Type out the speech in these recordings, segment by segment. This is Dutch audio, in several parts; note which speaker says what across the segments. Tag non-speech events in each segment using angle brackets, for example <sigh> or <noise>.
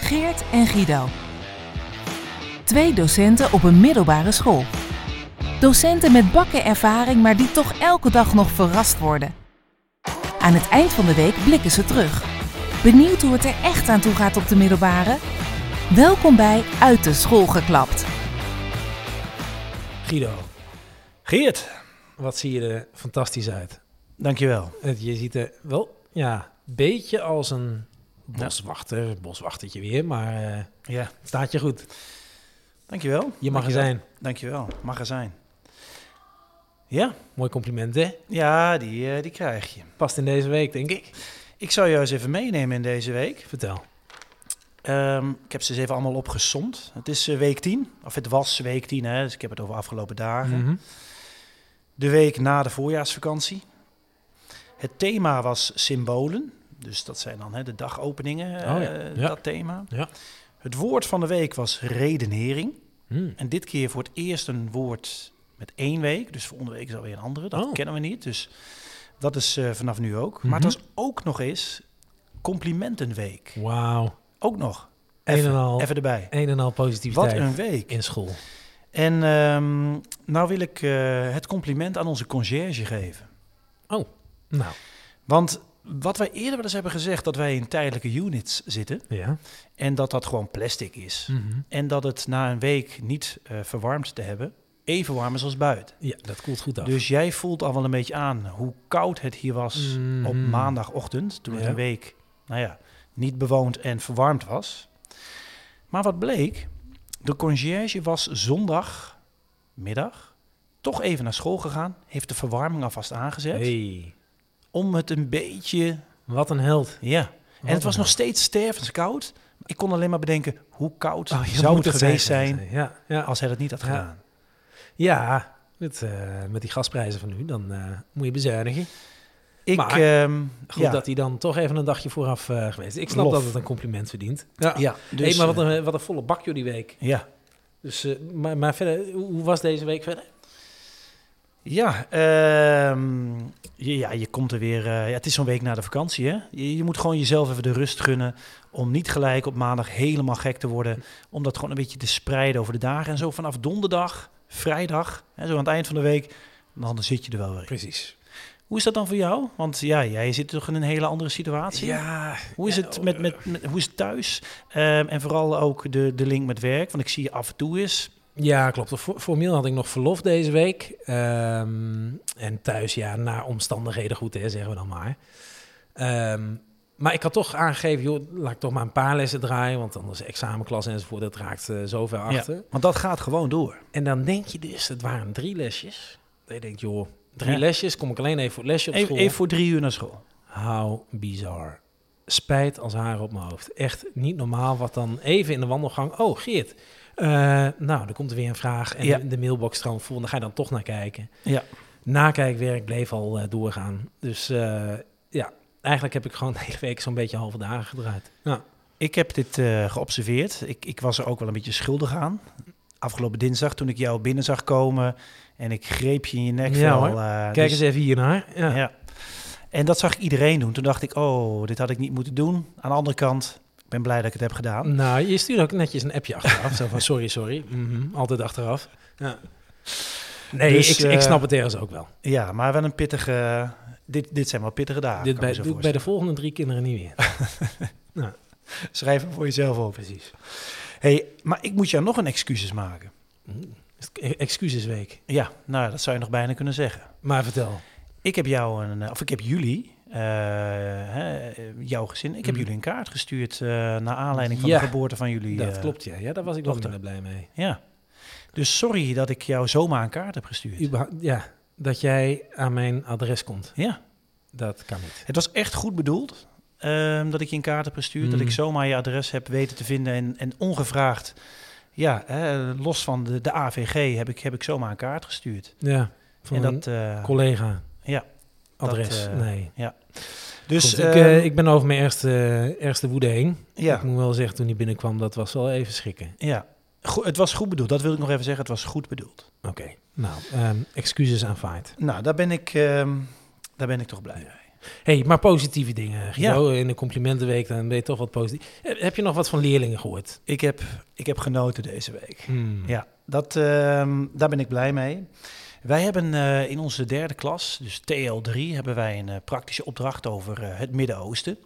Speaker 1: Geert en Guido. Twee docenten op een middelbare school. Docenten met bakken ervaring, maar die toch elke dag nog verrast worden. Aan het eind van de week blikken ze terug. Benieuwd hoe het er echt aan toe gaat op de middelbare? Welkom bij Uit de School geklapt.
Speaker 2: Guido. Geert, wat zie je er fantastisch uit.
Speaker 3: Dankjewel.
Speaker 2: Het- Je ziet er wel, ja, een beetje als een boswachter, boswachtertje weer, maar eh,
Speaker 3: Ja,
Speaker 2: het staat je goed.
Speaker 3: dankjewel.
Speaker 2: Je mag er
Speaker 3: Dankjewel.
Speaker 2: zijn.
Speaker 3: Dankjewel, magazijn. Ja,
Speaker 2: Mooi compliment, hè?
Speaker 3: ja die, eh, die krijg je.
Speaker 2: Past in deze week, denk ik.
Speaker 3: Ik zou jou eens even meenemen in deze week.
Speaker 2: Vertel.
Speaker 3: Ehm, ik heb ze eens even allemaal opgesomd. Het is eh, week 10, of het was week 10, hè, dus ik heb het over afgelopen dagen.
Speaker 2: Mhm.
Speaker 3: De week na de voorjaarsvakantie. Het thema was symbolen. Dus dat zijn dan hè, de dagopeningen, eh,
Speaker 2: Oh ja, ja.
Speaker 3: dat thema.
Speaker 2: Ja.
Speaker 3: Het woord van de week was redenering.
Speaker 2: Hmm.
Speaker 3: En dit keer voor het eerst een woord met één week. Dus volgende week is alweer een andere. Dat
Speaker 2: Oh.
Speaker 3: kennen we niet. Dus dat is eh, vanaf nu ook. Maar
Speaker 2: Mhm.
Speaker 3: het was ook nog eens complimentenweek.
Speaker 2: Wauw.
Speaker 3: Ook nog.
Speaker 2: Een en
Speaker 3: Even,
Speaker 2: al,
Speaker 3: even erbij.
Speaker 2: een en al
Speaker 3: Wat
Speaker 2: positiviteit
Speaker 3: een week.
Speaker 2: in school.
Speaker 3: En ehm, nou wil ik eh, het compliment aan onze conciërge geven.
Speaker 2: Nou,
Speaker 3: Want wat wij eerder wel eens hebben gezegd, dat wij in tijdelijke units zitten.
Speaker 2: ja.
Speaker 3: En dat dat gewoon plastic is.
Speaker 2: Mhm.
Speaker 3: En dat het na een week niet eh, verwarmd te hebben, even warm is als buiten.
Speaker 2: Ja, dat koelt goed af.
Speaker 3: Dus jij voelt al wel een beetje aan hoe koud het hier was op
Speaker 2: Mhm.
Speaker 3: maandagochtend, toen het
Speaker 2: Ja.
Speaker 3: een week, nou ja, niet bewoond en verwarmd was. Maar wat bleek, de conciërge was zondagmiddag toch even naar school gegaan, heeft de verwarming alvast aangezet,
Speaker 2: Hey,
Speaker 3: om het een beetje,
Speaker 2: wat een held.
Speaker 3: ja. En
Speaker 2: Wat
Speaker 3: het was
Speaker 2: een
Speaker 3: nog
Speaker 2: held.
Speaker 3: steeds stervenskoud. Ik kon alleen maar bedenken, hoe koud
Speaker 2: Oh, je
Speaker 3: zou
Speaker 2: moet
Speaker 3: het geweest zijn,
Speaker 2: Ja, ja.
Speaker 3: als hij dat niet had
Speaker 2: Ja.
Speaker 3: gedaan.
Speaker 2: Ja, met, eh, met die gasprijzen van nu, dan eh, moet je bezuinigen.
Speaker 3: Ik,
Speaker 2: Maar-
Speaker 3: ehm,
Speaker 2: Goed
Speaker 3: ja,
Speaker 2: dat hij dan toch even een dagje vooraf eh, geweest is. Ik snap
Speaker 3: Lof.
Speaker 2: dat het een compliment verdient. Ja.
Speaker 3: ja,
Speaker 2: hey,
Speaker 3: dus,
Speaker 2: maar
Speaker 3: eh,
Speaker 2: wat een, wat een volle bak jullie week.
Speaker 3: ja.
Speaker 2: Dus, eh, maar, maar verder, hoe hoe was deze week verder?
Speaker 3: Ja, ehm, je- ja, je komt er weer. eh, ja, het is zo'n week na de vakantie, hè? Je, je moet gewoon jezelf even de rust gunnen. Om niet gelijk op maandag helemaal gek te worden. Om dat gewoon een beetje te spreiden over de dagen. En zo vanaf donderdag, vrijdag, hè, zo aan het eind van de week. Dan zit je er wel weer. in.
Speaker 2: Precies.
Speaker 3: Hoe is dat dan voor jou? Want ja, jij zit toch in een hele andere situatie.
Speaker 2: Ja,
Speaker 3: Hoe is
Speaker 2: ja,
Speaker 3: het, met, met, met- hoe is het thuis? Ehm, en vooral ook de, de link met werk. Want ik zie je af en toe eens.
Speaker 2: ja, klopt. Vo- Formeel had ik nog verlof deze week. Ehm, en thuis, ja, naar omstandigheden goed, hè, zeggen we dan maar. Ehm, maar ik had toch aangegeven, joh, laat ik toch maar een paar lessen draaien. Want anders examenklas enzovoort, dat raakt eh, zoveel achter.
Speaker 3: Want dat gaat gewoon door.
Speaker 2: En dan denk je dus, het waren drie lesjes. Dan denk je, joh, drie
Speaker 3: Ja.
Speaker 2: lesjes, kom ik alleen even voor het lesje op
Speaker 3: Even,
Speaker 2: school.
Speaker 3: even voor drie uur naar school.
Speaker 2: How bizar. Spijt als haar op mijn hoofd. Echt niet normaal wat dan even in de wandelgang... Oh, Geert, eh, nou, er komt er weer een vraag. En
Speaker 3: Ja.
Speaker 2: de, de mailbox stroomt vol, en daar ga je dan toch naar kijken.
Speaker 3: Ja.
Speaker 2: Nakijkwerk bleef al eh, doorgaan. Dus eh, ja, eigenlijk heb ik gewoon de hele week zo'n beetje halve dagen gedraaid. Ja.
Speaker 3: Ik heb dit eh, geobserveerd. Ik, ik was er ook wel een beetje schuldig aan. Afgelopen dinsdag toen ik jou binnen zag komen en ik greep je in je nek.
Speaker 2: Ja, hoor.
Speaker 3: Kijk
Speaker 2: Kijk eens even hiernaar. Ja.
Speaker 3: Ja. En dat zag ik iedereen doen. Toen dacht ik, oh, dit had ik niet moeten doen. Aan de andere kant, ik ben blij dat ik het heb gedaan.
Speaker 2: Nou, je stuurt ook netjes een appje achteraf. zo van, sorry, sorry. Mhm, altijd achteraf. Ja. Nee,
Speaker 3: Dus,
Speaker 2: ik, ik
Speaker 3: eh,
Speaker 2: snap het ergens ook wel.
Speaker 3: Ja, maar wel een pittige... Dit, dit zijn wel pittige dagen.
Speaker 2: Dit
Speaker 3: kan
Speaker 2: bij,
Speaker 3: ik me zo
Speaker 2: doe ik bij de
Speaker 3: voorstellen.
Speaker 2: volgende drie kinderen niet
Speaker 3: <laughs>
Speaker 2: meer.
Speaker 3: Schrijf hem voor jezelf op.
Speaker 2: Precies.
Speaker 3: hey, maar ik moet jou nog een excuses maken.
Speaker 2: Mhm. e-, Excusesweek.
Speaker 3: Ja, nou, dat zou je nog bijna kunnen zeggen.
Speaker 2: Maar vertel.
Speaker 3: Ik heb jou een, of ik heb jullie, eh, hè, jouw gezin, ik heb
Speaker 2: Mm.
Speaker 3: jullie een kaart gestuurd eh naar aanleiding van
Speaker 2: Ja,
Speaker 3: de geboorte van jullie.
Speaker 2: dat
Speaker 3: eh,
Speaker 2: klopt, ja. Ja, daar was ik nog
Speaker 3: dochter.
Speaker 2: minder blij mee.
Speaker 3: Ja. Dus sorry dat ik jou zomaar een kaart heb gestuurd.
Speaker 2: Überha- ja, dat jij aan mijn adres komt.
Speaker 3: Ja.
Speaker 2: Dat kan niet.
Speaker 3: Het was echt goed bedoeld ehm, dat ik je een kaart heb gestuurd, dat
Speaker 2: Mm.
Speaker 3: ik zomaar je adres heb weten te vinden en, en ongevraagd. Ja, hè, los van de, de AVG heb ik, heb ik zomaar een kaart gestuurd.
Speaker 2: Ja, van
Speaker 3: en
Speaker 2: een
Speaker 3: dat, eh,
Speaker 2: collega.
Speaker 3: ja,
Speaker 2: Adres,
Speaker 3: dat, eh,
Speaker 2: nee.
Speaker 3: dus
Speaker 2: Goed, ik,
Speaker 3: ehm,
Speaker 2: eh, ik ben over mijn ergste, ergste woede heen. Ik
Speaker 3: ja,
Speaker 2: moet wel zeggen, toen hij binnenkwam, dat was wel even schrikken.
Speaker 3: ja. Go- het was goed bedoeld. Dat wil ik nog even zeggen. Het was goed bedoeld.
Speaker 2: Oké, nou, ehm, excuses aanvaard.
Speaker 3: Nou, daar ben ik, ehm, daar ben ik toch blij mee.
Speaker 2: hey, maar positieve dingen, Guido. In de complimentenweek, dan ben je toch wat positief. Heb heb je nog wat van leerlingen gehoord?
Speaker 3: Ik heb, ik heb genoten deze week.
Speaker 2: Hmm.
Speaker 3: Ja, dat, ehm, daar ben ik blij mee. Wij hebben eh, in onze derde klas, dus TL3, hebben wij een eh, praktische opdracht over eh, het Midden-Oosten.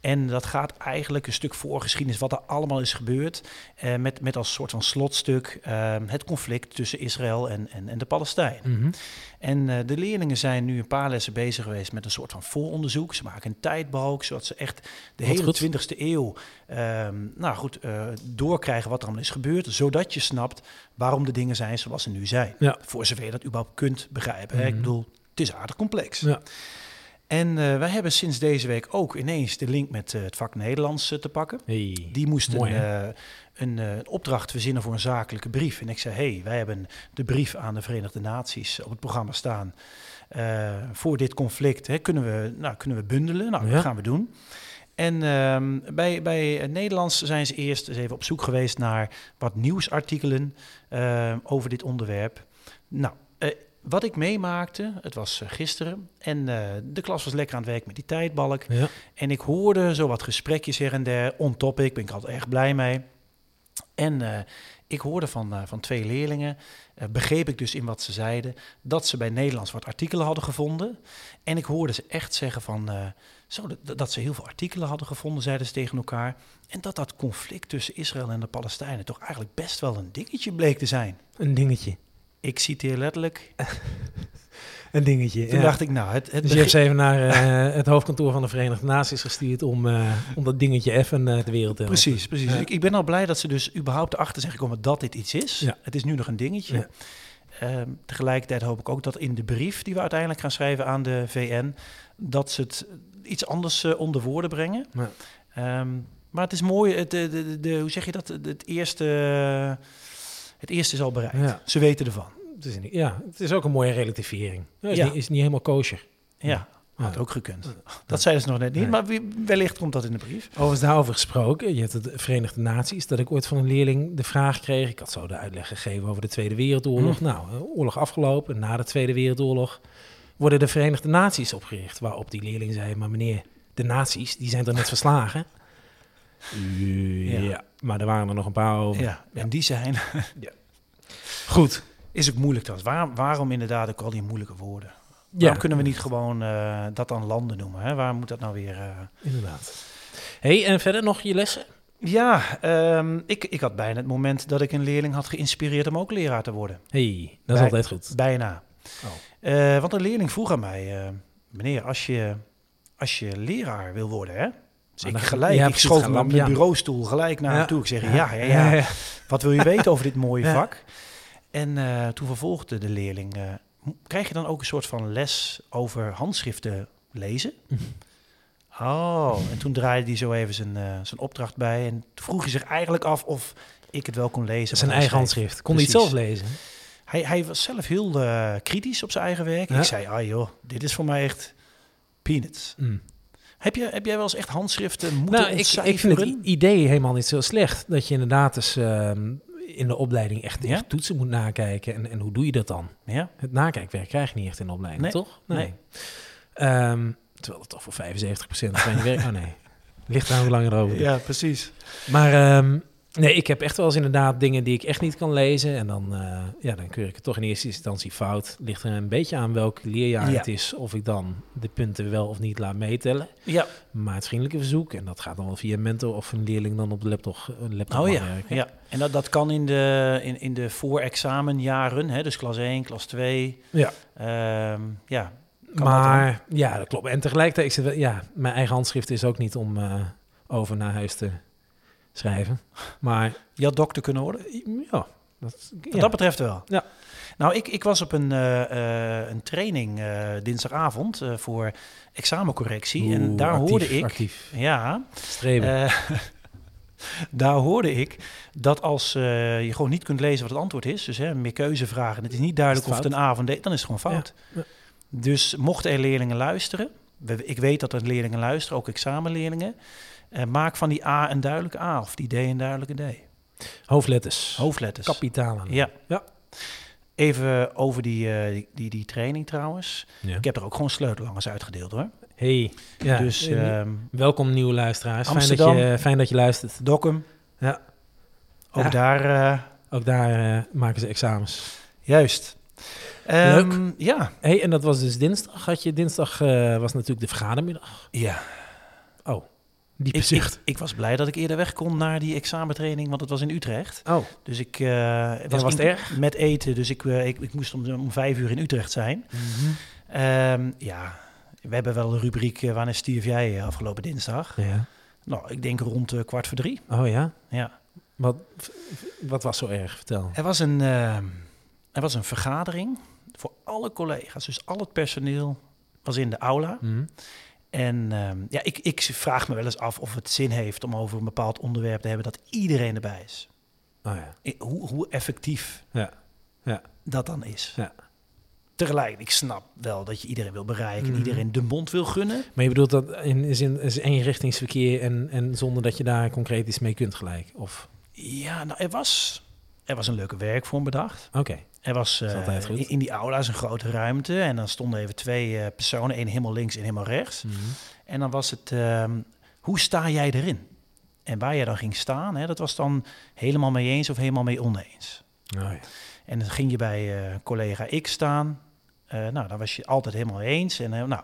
Speaker 3: En dat gaat eigenlijk een stuk voorgeschiedenis, wat er allemaal is gebeurd. eh, met, met als soort van slotstuk ehm, het conflict tussen Israël en, en, en de Palestijnen.
Speaker 2: Mhm.
Speaker 3: En eh, de leerlingen zijn nu een paar lessen bezig geweest met een soort van vooronderzoek. Ze maken een tijdbalk, zodat ze echt
Speaker 2: Wat
Speaker 3: de hele
Speaker 2: goed.
Speaker 3: 20e eeuw ehm, nou goed, eh, doorkrijgen wat er allemaal is gebeurd. Zodat je snapt waarom de dingen zijn zoals ze nu zijn.
Speaker 2: Ja.
Speaker 3: Voor zover je dat überhaupt kunt begrijpen. Hè? Ik
Speaker 2: Mhm.
Speaker 3: bedoel, het is aardig complex.
Speaker 2: Ja.
Speaker 3: En eh, wij hebben sinds deze week ook ineens de link met eh, het vak Nederlands eh, te pakken.
Speaker 2: Hey.
Speaker 3: Die moest
Speaker 2: Mooi,
Speaker 3: een, eh, een eh, een opdracht verzinnen voor een zakelijke brief. En ik zei, hey, wij hebben de brief aan de Verenigde Naties op het programma staan. eh, voor dit conflict hè, kunnen, we, nou, kunnen we bundelen. Nou,
Speaker 2: Ja.
Speaker 3: dat gaan we doen. En ehm, bij, bij het Nederlands zijn ze eerst eens even op zoek geweest naar wat nieuwsartikelen eh, over dit onderwerp. Nou, eh, wat ik meemaakte, het was eh, gisteren, en eh, de klas was lekker aan het werk met die tijdbalk.
Speaker 2: Ja.
Speaker 3: En ik hoorde zo wat gesprekjes her en der, on topic, ben ik altijd erg blij mee. En eh, ik hoorde van, eh, van twee leerlingen, eh, begreep ik dus in wat ze zeiden, dat ze bij Nederlands wat artikelen hadden gevonden. En ik hoorde ze echt zeggen van, eh, zo, dat, dat ze heel veel artikelen hadden gevonden, zeiden ze tegen elkaar. En dat dat conflict tussen Israël en de Palestijnen toch eigenlijk best wel een dingetje bleek te zijn.
Speaker 2: Een dingetje.
Speaker 3: Ik citeer letterlijk.
Speaker 2: Een dingetje.
Speaker 3: Toen
Speaker 2: ja.
Speaker 3: dacht ik, nou, het, het
Speaker 2: dus je hebt ze even naar eh, het hoofdkantoor van de Verenigde Naties gestuurd om, eh, om dat dingetje even eh, de wereld te helpen.
Speaker 3: Precies, precies.
Speaker 2: Ja.
Speaker 3: Ik, ik ben al blij dat ze dus überhaupt erachter zijn gekomen dat dit iets is.
Speaker 2: Ja.
Speaker 3: Het is nu nog een dingetje.
Speaker 2: Ja.
Speaker 3: Ehm, tegelijkertijd hoop ik ook dat in de brief die we uiteindelijk gaan schrijven aan de VN, dat ze het iets anders eh, onder woorden brengen.
Speaker 2: Ja.
Speaker 3: Ehm, maar het is mooi, het, de, de, de- de- hoe zeg je dat? Het, het eerste, het eerste is al bereikt.
Speaker 2: Ja.
Speaker 3: Ze weten ervan.
Speaker 2: Het is, niet- ja, het is ook een mooie relativering. Ja, Ah. is,
Speaker 3: Ja.
Speaker 2: Niet, is niet helemaal kosher.
Speaker 3: Ja,
Speaker 2: Ja.
Speaker 3: had ook gekund. Dat zeiden ze nog net niet,
Speaker 2: Nee.
Speaker 3: maar wie- wellicht komt dat in de brief.
Speaker 2: Overigens daarover gesproken, je hebt het Verenigde Naties, dat ik ooit van een leerling de vraag kreeg, ik had zo de uitleg gegeven over de Tweede Wereldoorlog.
Speaker 3: Mm.
Speaker 2: Nou, eh, oorlog afgelopen, en na de Tweede Wereldoorlog worden de Verenigde Naties opgericht. Waarop die leerling zei, maar meneer, de naties, die zijn toch net verslagen? ja. maar er waren er nog een paar over.
Speaker 3: Ja, en die zijn
Speaker 2: Goed,
Speaker 3: Is ook moeilijk dat. Waar, waarom inderdaad ook al die moeilijke woorden?
Speaker 2: ja,
Speaker 3: Waarom kunnen we niet gewoon eh, dat dan landen noemen? Hè? Waar moet dat nou weer... eh?
Speaker 2: inderdaad. hey, en verder nog je lessen?
Speaker 3: Ja, ehm, ik, ik had bijna het moment dat ik een leerling had geïnspireerd om ook leraar te worden.
Speaker 2: hey, dat is
Speaker 3: Bij-
Speaker 2: altijd goed.
Speaker 3: Bijna.
Speaker 2: Oh.
Speaker 3: Eh, want een leerling vroeg aan mij... eh, meneer, als je, als je leraar wil worden, hè? Dus
Speaker 2: Maar
Speaker 3: ik
Speaker 2: dan-
Speaker 3: gelijk,
Speaker 2: ja,
Speaker 3: ik
Speaker 2: precies,
Speaker 3: schoof
Speaker 2: gaan
Speaker 3: hem op
Speaker 2: we-
Speaker 3: mijn
Speaker 2: ja.
Speaker 3: bureaustoel gelijk naar hem
Speaker 2: <laughs>
Speaker 3: toe. Ik zeg, ja, ja, ja.
Speaker 2: ja, <laughs>
Speaker 3: Wat wil je weten over dit mooie
Speaker 2: Ja.
Speaker 3: vak? En eh, toen vervolgde de leerling, eh, m- krijg je dan ook een soort van les over handschriften
Speaker 2: <laughs>
Speaker 3: lezen? Oh, en toen draaide hij zo even zijn, eh, zijn opdracht bij en toen vroeg hij zich eigenlijk af of ik het wel kon lezen.
Speaker 2: Zijn
Speaker 3: wat hij
Speaker 2: eigen handschrift. Kon hij
Speaker 3: Precies.
Speaker 2: het zelf lezen?
Speaker 3: schreef. Hij, hij was zelf heel eh, kritisch op zijn eigen werk.
Speaker 2: Ja.
Speaker 3: Ik zei, ah joh, dit is voor mij echt peanuts.
Speaker 2: Mm.
Speaker 3: Heb, je, heb jij wel eens echt handschriften moeten
Speaker 2: Nou, ik, ik vind het i-
Speaker 3: ontcijferen?
Speaker 2: idee helemaal niet zo slecht. Dat je inderdaad eens ehm, in de opleiding echt,
Speaker 3: Ja?
Speaker 2: echt toetsen moet nakijken. En, en hoe doe je dat dan?
Speaker 3: Ja,
Speaker 2: Het nakijkwerk krijg je niet echt in de opleiding,
Speaker 3: Nee,
Speaker 2: toch?
Speaker 3: nee.
Speaker 2: Ehm, terwijl het toch voor 75% van je werk... Oh
Speaker 3: <laughs>
Speaker 2: nee, ligt aan hoe lang je erover doet.
Speaker 3: ja, precies.
Speaker 2: Maar ehm, nee, ik heb echt wel eens inderdaad dingen die ik echt niet kan lezen. En dan, eh, ja, dan keur ik het toch in eerste instantie fout. Ligt er een beetje aan welk leerjaar
Speaker 3: Ja.
Speaker 2: het is... of ik dan de punten wel of niet laat meetellen
Speaker 3: Ja,
Speaker 2: maatvrindelijke verzoek. En dat gaat dan wel via een mentor of een leerling dan op de laptop, een laptop
Speaker 3: Oh
Speaker 2: mag
Speaker 3: ja,
Speaker 2: werken.
Speaker 3: ja. en dat, dat kan in de, in, in de voorexamenjaren, hè, dus klas 1, klas 2.
Speaker 2: Ja.
Speaker 3: Ehm, ja. Kan
Speaker 2: Maar ja, dat klopt. En tegelijkertijd, ik zit wel- ja, mijn eigen handschrift is ook niet om eh, over naar huis te schrijven. Maar
Speaker 3: Je had dokter kunnen worden?
Speaker 2: ja, dat,
Speaker 3: Wat
Speaker 2: ja.
Speaker 3: dat betreft wel.
Speaker 2: Ja.
Speaker 3: Nou, ik, ik was op een, eh, eh, een training eh, dinsdagavond eh, voor examencorrectie. en
Speaker 2: Oeh,
Speaker 3: daar
Speaker 2: actief,
Speaker 3: hoorde ik.
Speaker 2: Actief,
Speaker 3: Ja,
Speaker 2: streven.
Speaker 3: Eh, <laughs> daar hoorde ik dat als eh, je gewoon niet kunt lezen wat het antwoord is, dus hè, meer keuzevragen, en het is niet duidelijk
Speaker 2: Is het
Speaker 3: of het een A of een D, dan is het gewoon fout.
Speaker 2: Ja,
Speaker 3: Dus mochten er leerlingen luisteren, we- ik weet dat er leerlingen luisteren, ook examenleerlingen, eh, maak van die A een duidelijke A of die D een duidelijke D.
Speaker 2: Hoofdletters.
Speaker 3: Hoofdletters.
Speaker 2: Kapitalen.
Speaker 3: Ja.
Speaker 2: Ja.
Speaker 3: Even over die, eh, die, die training trouwens.
Speaker 2: Ja.
Speaker 3: Ik heb er ook gewoon sleutelangers uitgedeeld hoor.
Speaker 2: Hey, ja. eh,
Speaker 3: Dus ehm
Speaker 2: welkom nieuwe luisteraars. Fijn dat,
Speaker 3: Amsterdam.
Speaker 2: je, fijn dat je luistert.
Speaker 3: Dokkum.
Speaker 2: Ja.
Speaker 3: Ook
Speaker 2: Ja.
Speaker 3: daar, eh,
Speaker 2: Ook daar eh, maken ze examens.
Speaker 3: juist.
Speaker 2: Leuk.
Speaker 3: Ehm, Ja.
Speaker 2: hey, en dat was dus dinsdag. Had je, dinsdag eh, was natuurlijk de vergadermiddag.
Speaker 3: ja.
Speaker 2: Die
Speaker 3: Ik,
Speaker 2: bezicht.
Speaker 3: ik, ik was blij dat ik eerder weg kon naar die examentraining, want het was in Utrecht.
Speaker 2: Oh,
Speaker 3: Dus ik eh,
Speaker 2: was het
Speaker 3: in-
Speaker 2: erg?
Speaker 3: met eten, dus ik, eh, ik, ik moest om, om vijf uur in Utrecht zijn.
Speaker 2: Mhm.
Speaker 3: Ehm, ja, we hebben wel een rubriek eh, Wanneer stierf jij eh, afgelopen dinsdag?
Speaker 2: ja.
Speaker 3: Nou, ik denk rond eh, kwart voor drie.
Speaker 2: Oh ja?
Speaker 3: Ja.
Speaker 2: Wat, wat was zo erg? Vertel.
Speaker 3: Er was een, ehm, er was een vergadering voor alle collega's, dus al het personeel was in de aula.
Speaker 2: Mhm.
Speaker 3: En ehm, ja, ik, ik vraag me wel eens af of het zin heeft om over een bepaald onderwerp te hebben dat iedereen erbij is.
Speaker 2: Oh ja.
Speaker 3: I- Hoe, hoe effectief
Speaker 2: Ja. Ja.
Speaker 3: dat dan is.
Speaker 2: Ja.
Speaker 3: Tegelijk, ik snap wel dat je iedereen wil bereiken
Speaker 2: Mhm.
Speaker 3: en iedereen de mond wil gunnen.
Speaker 2: Maar je bedoelt dat in, is, in, is eenrichtingsverkeer en, en zonder dat je daar concreet iets mee kunt gelijk? Of,
Speaker 3: Ja, nou, er was, er was een leuke werkvorm bedacht.
Speaker 2: oké.
Speaker 3: Er was
Speaker 2: is
Speaker 3: eh,
Speaker 2: altijd goed.
Speaker 3: in, in die aula is een grote ruimte en dan stonden even twee eh, personen, één helemaal links en helemaal rechts.
Speaker 2: Mhm.
Speaker 3: En dan was het, ehm, hoe sta jij erin? En waar jij dan ging staan, hè, dat was dan helemaal mee eens of helemaal mee oneens.
Speaker 2: Oh ja.
Speaker 3: En dan ging je bij eh, collega X staan. Eh, nou, dan was je altijd helemaal eens. En, eh, nou.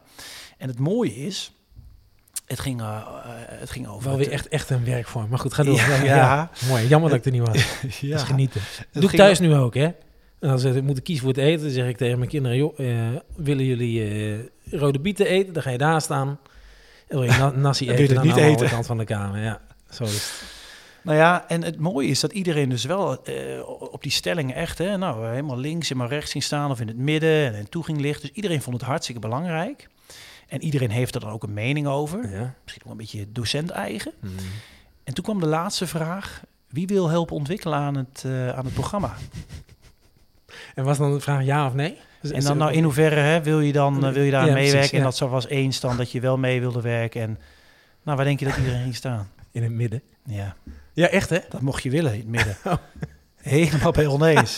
Speaker 3: en het mooie is, het ging, eh, eh, het ging over...
Speaker 2: Wel
Speaker 3: het-
Speaker 2: weer echt, echt een werkvorm. Maar goed, ga door.
Speaker 3: Ja,
Speaker 2: Ja,
Speaker 3: ja.
Speaker 2: Mooi. Jammer dat ik er niet was.
Speaker 3: Ja.
Speaker 2: Dat is genieten. Doe ik
Speaker 3: ging
Speaker 2: thuis nu ook, hè? En dan zeg ik, moet ik kiezen voor het eten. Dan zeg ik tegen mijn kinderen, joh, eh, willen jullie eh, rode bieten eten? Dan ga je daar staan. En wil je na nasi
Speaker 3: Dan
Speaker 2: eten?
Speaker 3: wil je
Speaker 2: dan
Speaker 3: het niet
Speaker 2: aan de andere
Speaker 3: eten.
Speaker 2: kant van de kamer, ja. Zo is het.
Speaker 3: Nou ja, en het mooie is dat iedereen dus wel eh, op die stellingen echt, hè, nou, helemaal links en maar rechts ging staan of in het midden en, en toe ging liggen. Dus iedereen vond het hartstikke belangrijk. En iedereen heeft er dan ook een mening over.
Speaker 2: Ja.
Speaker 3: Misschien ook een beetje docent-eigen.
Speaker 2: Mm.
Speaker 3: En toen kwam de laatste vraag. Wie wil helpen ontwikkelen aan het, eh, aan het programma?
Speaker 2: En was dan de vraag ja of nee? Dus-
Speaker 3: En dan nou, in hoeverre hè, wil je dan eh, wil je daar aan
Speaker 2: Ja, precies,
Speaker 3: meewerken? En
Speaker 2: ja.
Speaker 3: dat zo was eens dan dat je wel mee wilde werken. En nou, waar denk je dat iedereen ging staan?
Speaker 2: In het midden.
Speaker 3: Ja,
Speaker 2: Ja, echt, hè?
Speaker 3: dat mocht je willen in het <laughs> midden. Oh. Helemaal bij oneens.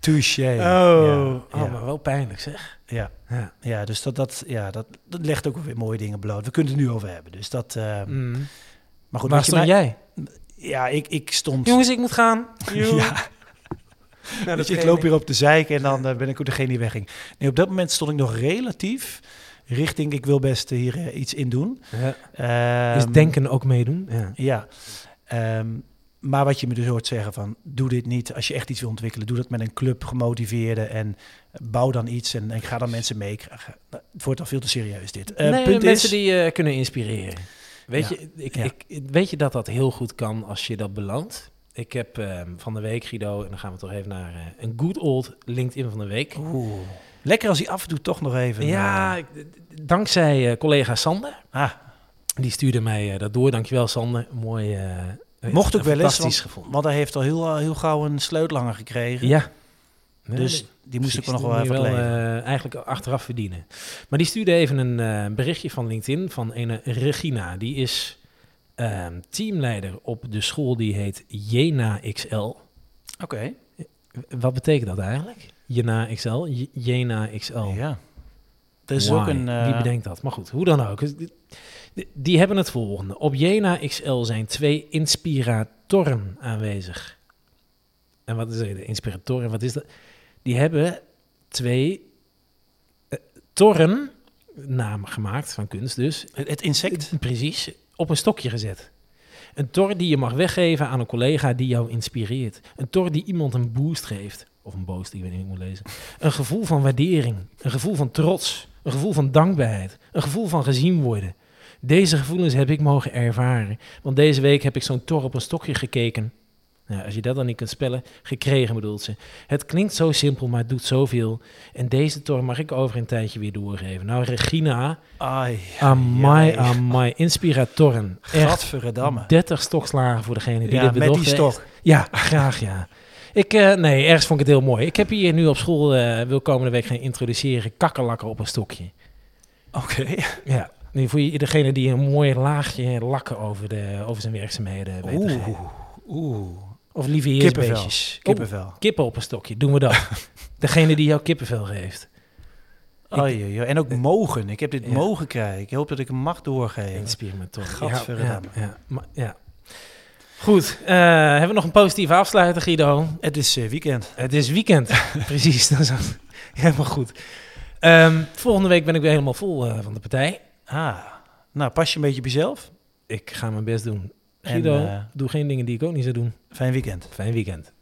Speaker 3: Touché.
Speaker 2: Oh,
Speaker 3: Ja,
Speaker 2: oh,
Speaker 3: ja,
Speaker 2: maar wel pijnlijk, zeg.
Speaker 3: ja.
Speaker 2: Ja.
Speaker 3: Ja, dus dat, dat, ja, dat, dat legt ook weer mooie dingen bloot. We kunnen het nu over hebben. Dus dat, eh,
Speaker 2: Mm.
Speaker 3: maar goed,
Speaker 2: Waar
Speaker 3: weet je,
Speaker 2: stond
Speaker 3: mij-
Speaker 2: jij?
Speaker 3: Ja, ik, ik stond...
Speaker 2: Jongens, ik moet
Speaker 3: <laughs>
Speaker 2: gaan. Joe.
Speaker 3: Ja.
Speaker 2: <laughs> Nou,
Speaker 3: Weet je, ik loop hier op de zeiken en dan eh, ben ik ook degene die wegging. Nee, op dat moment stond ik nog relatief richting ik wil best eh, hier eh, iets in doen.
Speaker 2: Ja.
Speaker 3: Ehm,
Speaker 2: Dus denken ook meedoen. Ja.
Speaker 3: Ja. Ehm, maar wat je me dus hoort zeggen van, doe dit niet. Als je echt iets wil ontwikkelen, doe dat met een club gemotiveerde en bouw dan iets en, en ga dan mensen meekrijgen. Nou, Het wordt al veel te serieus dit. Eh,
Speaker 2: nee,
Speaker 3: punt
Speaker 2: mensen
Speaker 3: is,
Speaker 2: die je kunnen inspireren. Weet,
Speaker 3: Ja.
Speaker 2: je, ik,
Speaker 3: Ja.
Speaker 2: ik, weet je dat dat heel goed kan als je dat beloont? Ik heb ehm, van de week, Guido, en dan gaan we toch even naar eh, een good old LinkedIn van de week.
Speaker 3: Oeh. Lekker als hij af en toe toch nog even...
Speaker 2: Ja,
Speaker 3: eh,
Speaker 2: ik- dankzij eh, collega Sander.
Speaker 3: ah,
Speaker 2: Die stuurde mij eh, dat door. Dankjewel, Sander. Mooi. eh,
Speaker 3: Mocht ook wel eens,
Speaker 2: Fantastisch gevonden.
Speaker 3: want hij heeft al heel, eh, heel gauw een sleutelanger gekregen.
Speaker 2: Ja. Nee,
Speaker 3: Dus die moest ik
Speaker 2: Precies,
Speaker 3: nog
Speaker 2: die
Speaker 3: wel
Speaker 2: moet
Speaker 3: even
Speaker 2: je
Speaker 3: leven.
Speaker 2: eh, eigenlijk achteraf verdienen. Maar die stuurde even een eh, berichtje van LinkedIn van een Regina. Die is ehm, teamleider op de school die heet Jena XL.
Speaker 3: Oké.
Speaker 2: eh, Wat betekent dat eigenlijk? Jena XL? J- Jena XL.
Speaker 3: Ja. Er is
Speaker 2: Oh. Why?
Speaker 3: ook een... eh,
Speaker 2: Wie bedenkt dat? Maar goed, hoe dan ook. Dus dit- di- Die hebben het volgende. Op Jena XL zijn twee inspiratoren aanwezig. En wat is er? De inspiratoren, wat is dat? Die hebben twee eh, torren, namen gemaakt van kunst dus,
Speaker 3: het, het insect.
Speaker 2: Precies, op een stokje gezet. Een tor die je mag weggeven aan een collega die jou inspireert. Een tor die iemand een boost geeft. Of een boost, ik weet niet hoe ik moet lezen. Een gevoel van waardering. Een gevoel van trots. Een gevoel van dankbaarheid. Een gevoel van gezien worden. Deze gevoelens heb ik mogen ervaren. Want deze week heb ik zo'n tor op een stokje gekeken. Nou, als je dat dan niet kunt spellen, gekregen bedoelt ze. Het klinkt zo simpel, maar het doet zoveel. En deze tor mag ik over een tijdje weer doorgeven. Nou, Regina,
Speaker 3: Ai,
Speaker 2: Amai,
Speaker 3: ja.
Speaker 2: amai. Inspiratoren. Echt
Speaker 3: gadverdamme.
Speaker 2: 30 stokslagen voor degene die
Speaker 3: Ja,
Speaker 2: dit
Speaker 3: met
Speaker 2: bedacht
Speaker 3: die stok.
Speaker 2: heeft. Ja, graag ja. Ik, eh, nee, ergens vond ik het heel mooi. Ik heb hier nu op school, eh, wil komende week gaan introduceren, kakkerlakken op een stokje.
Speaker 3: Oké. <laughs>
Speaker 2: Ja, nu voor je- degene die een mooi laagje lakken over, de, over zijn werkzaamheden weet te
Speaker 3: Oeh,
Speaker 2: geven.
Speaker 3: oeh.
Speaker 2: Of lieve
Speaker 3: Kippenvel.
Speaker 2: heersbeestjes.
Speaker 3: Kippenvel. <laughs>
Speaker 2: Oeh, kippen op een stokje, doen we dat. degene die jou kippenvel geeft.
Speaker 3: Oei, oei, oei. Oh, En ook
Speaker 2: Eh,
Speaker 3: mogen. Ik heb dit
Speaker 2: ja.
Speaker 3: mogen krijgen. Ik hoop dat ik hem mag doorgeven.
Speaker 2: Inspireer me toch. Ja,
Speaker 3: Gadverdamme.
Speaker 2: ja, ja, maar- ja. Goed, eh, hebben we nog een positieve afsluiter, Guido?
Speaker 3: Het is eh, weekend.
Speaker 2: Het is
Speaker 3: <laughs>
Speaker 2: weekend. Precies, dat is al- helemaal goed. Ehm, volgende week ben ik weer helemaal vol eh, van de partij.
Speaker 3: Ah, nou pas je een beetje op jezelf.
Speaker 2: Ik ga mijn best doen.
Speaker 3: En,
Speaker 2: Guido,
Speaker 3: eh,
Speaker 2: doe geen dingen die ik ook niet zou doen.
Speaker 3: Fijn weekend.
Speaker 2: Fijn weekend.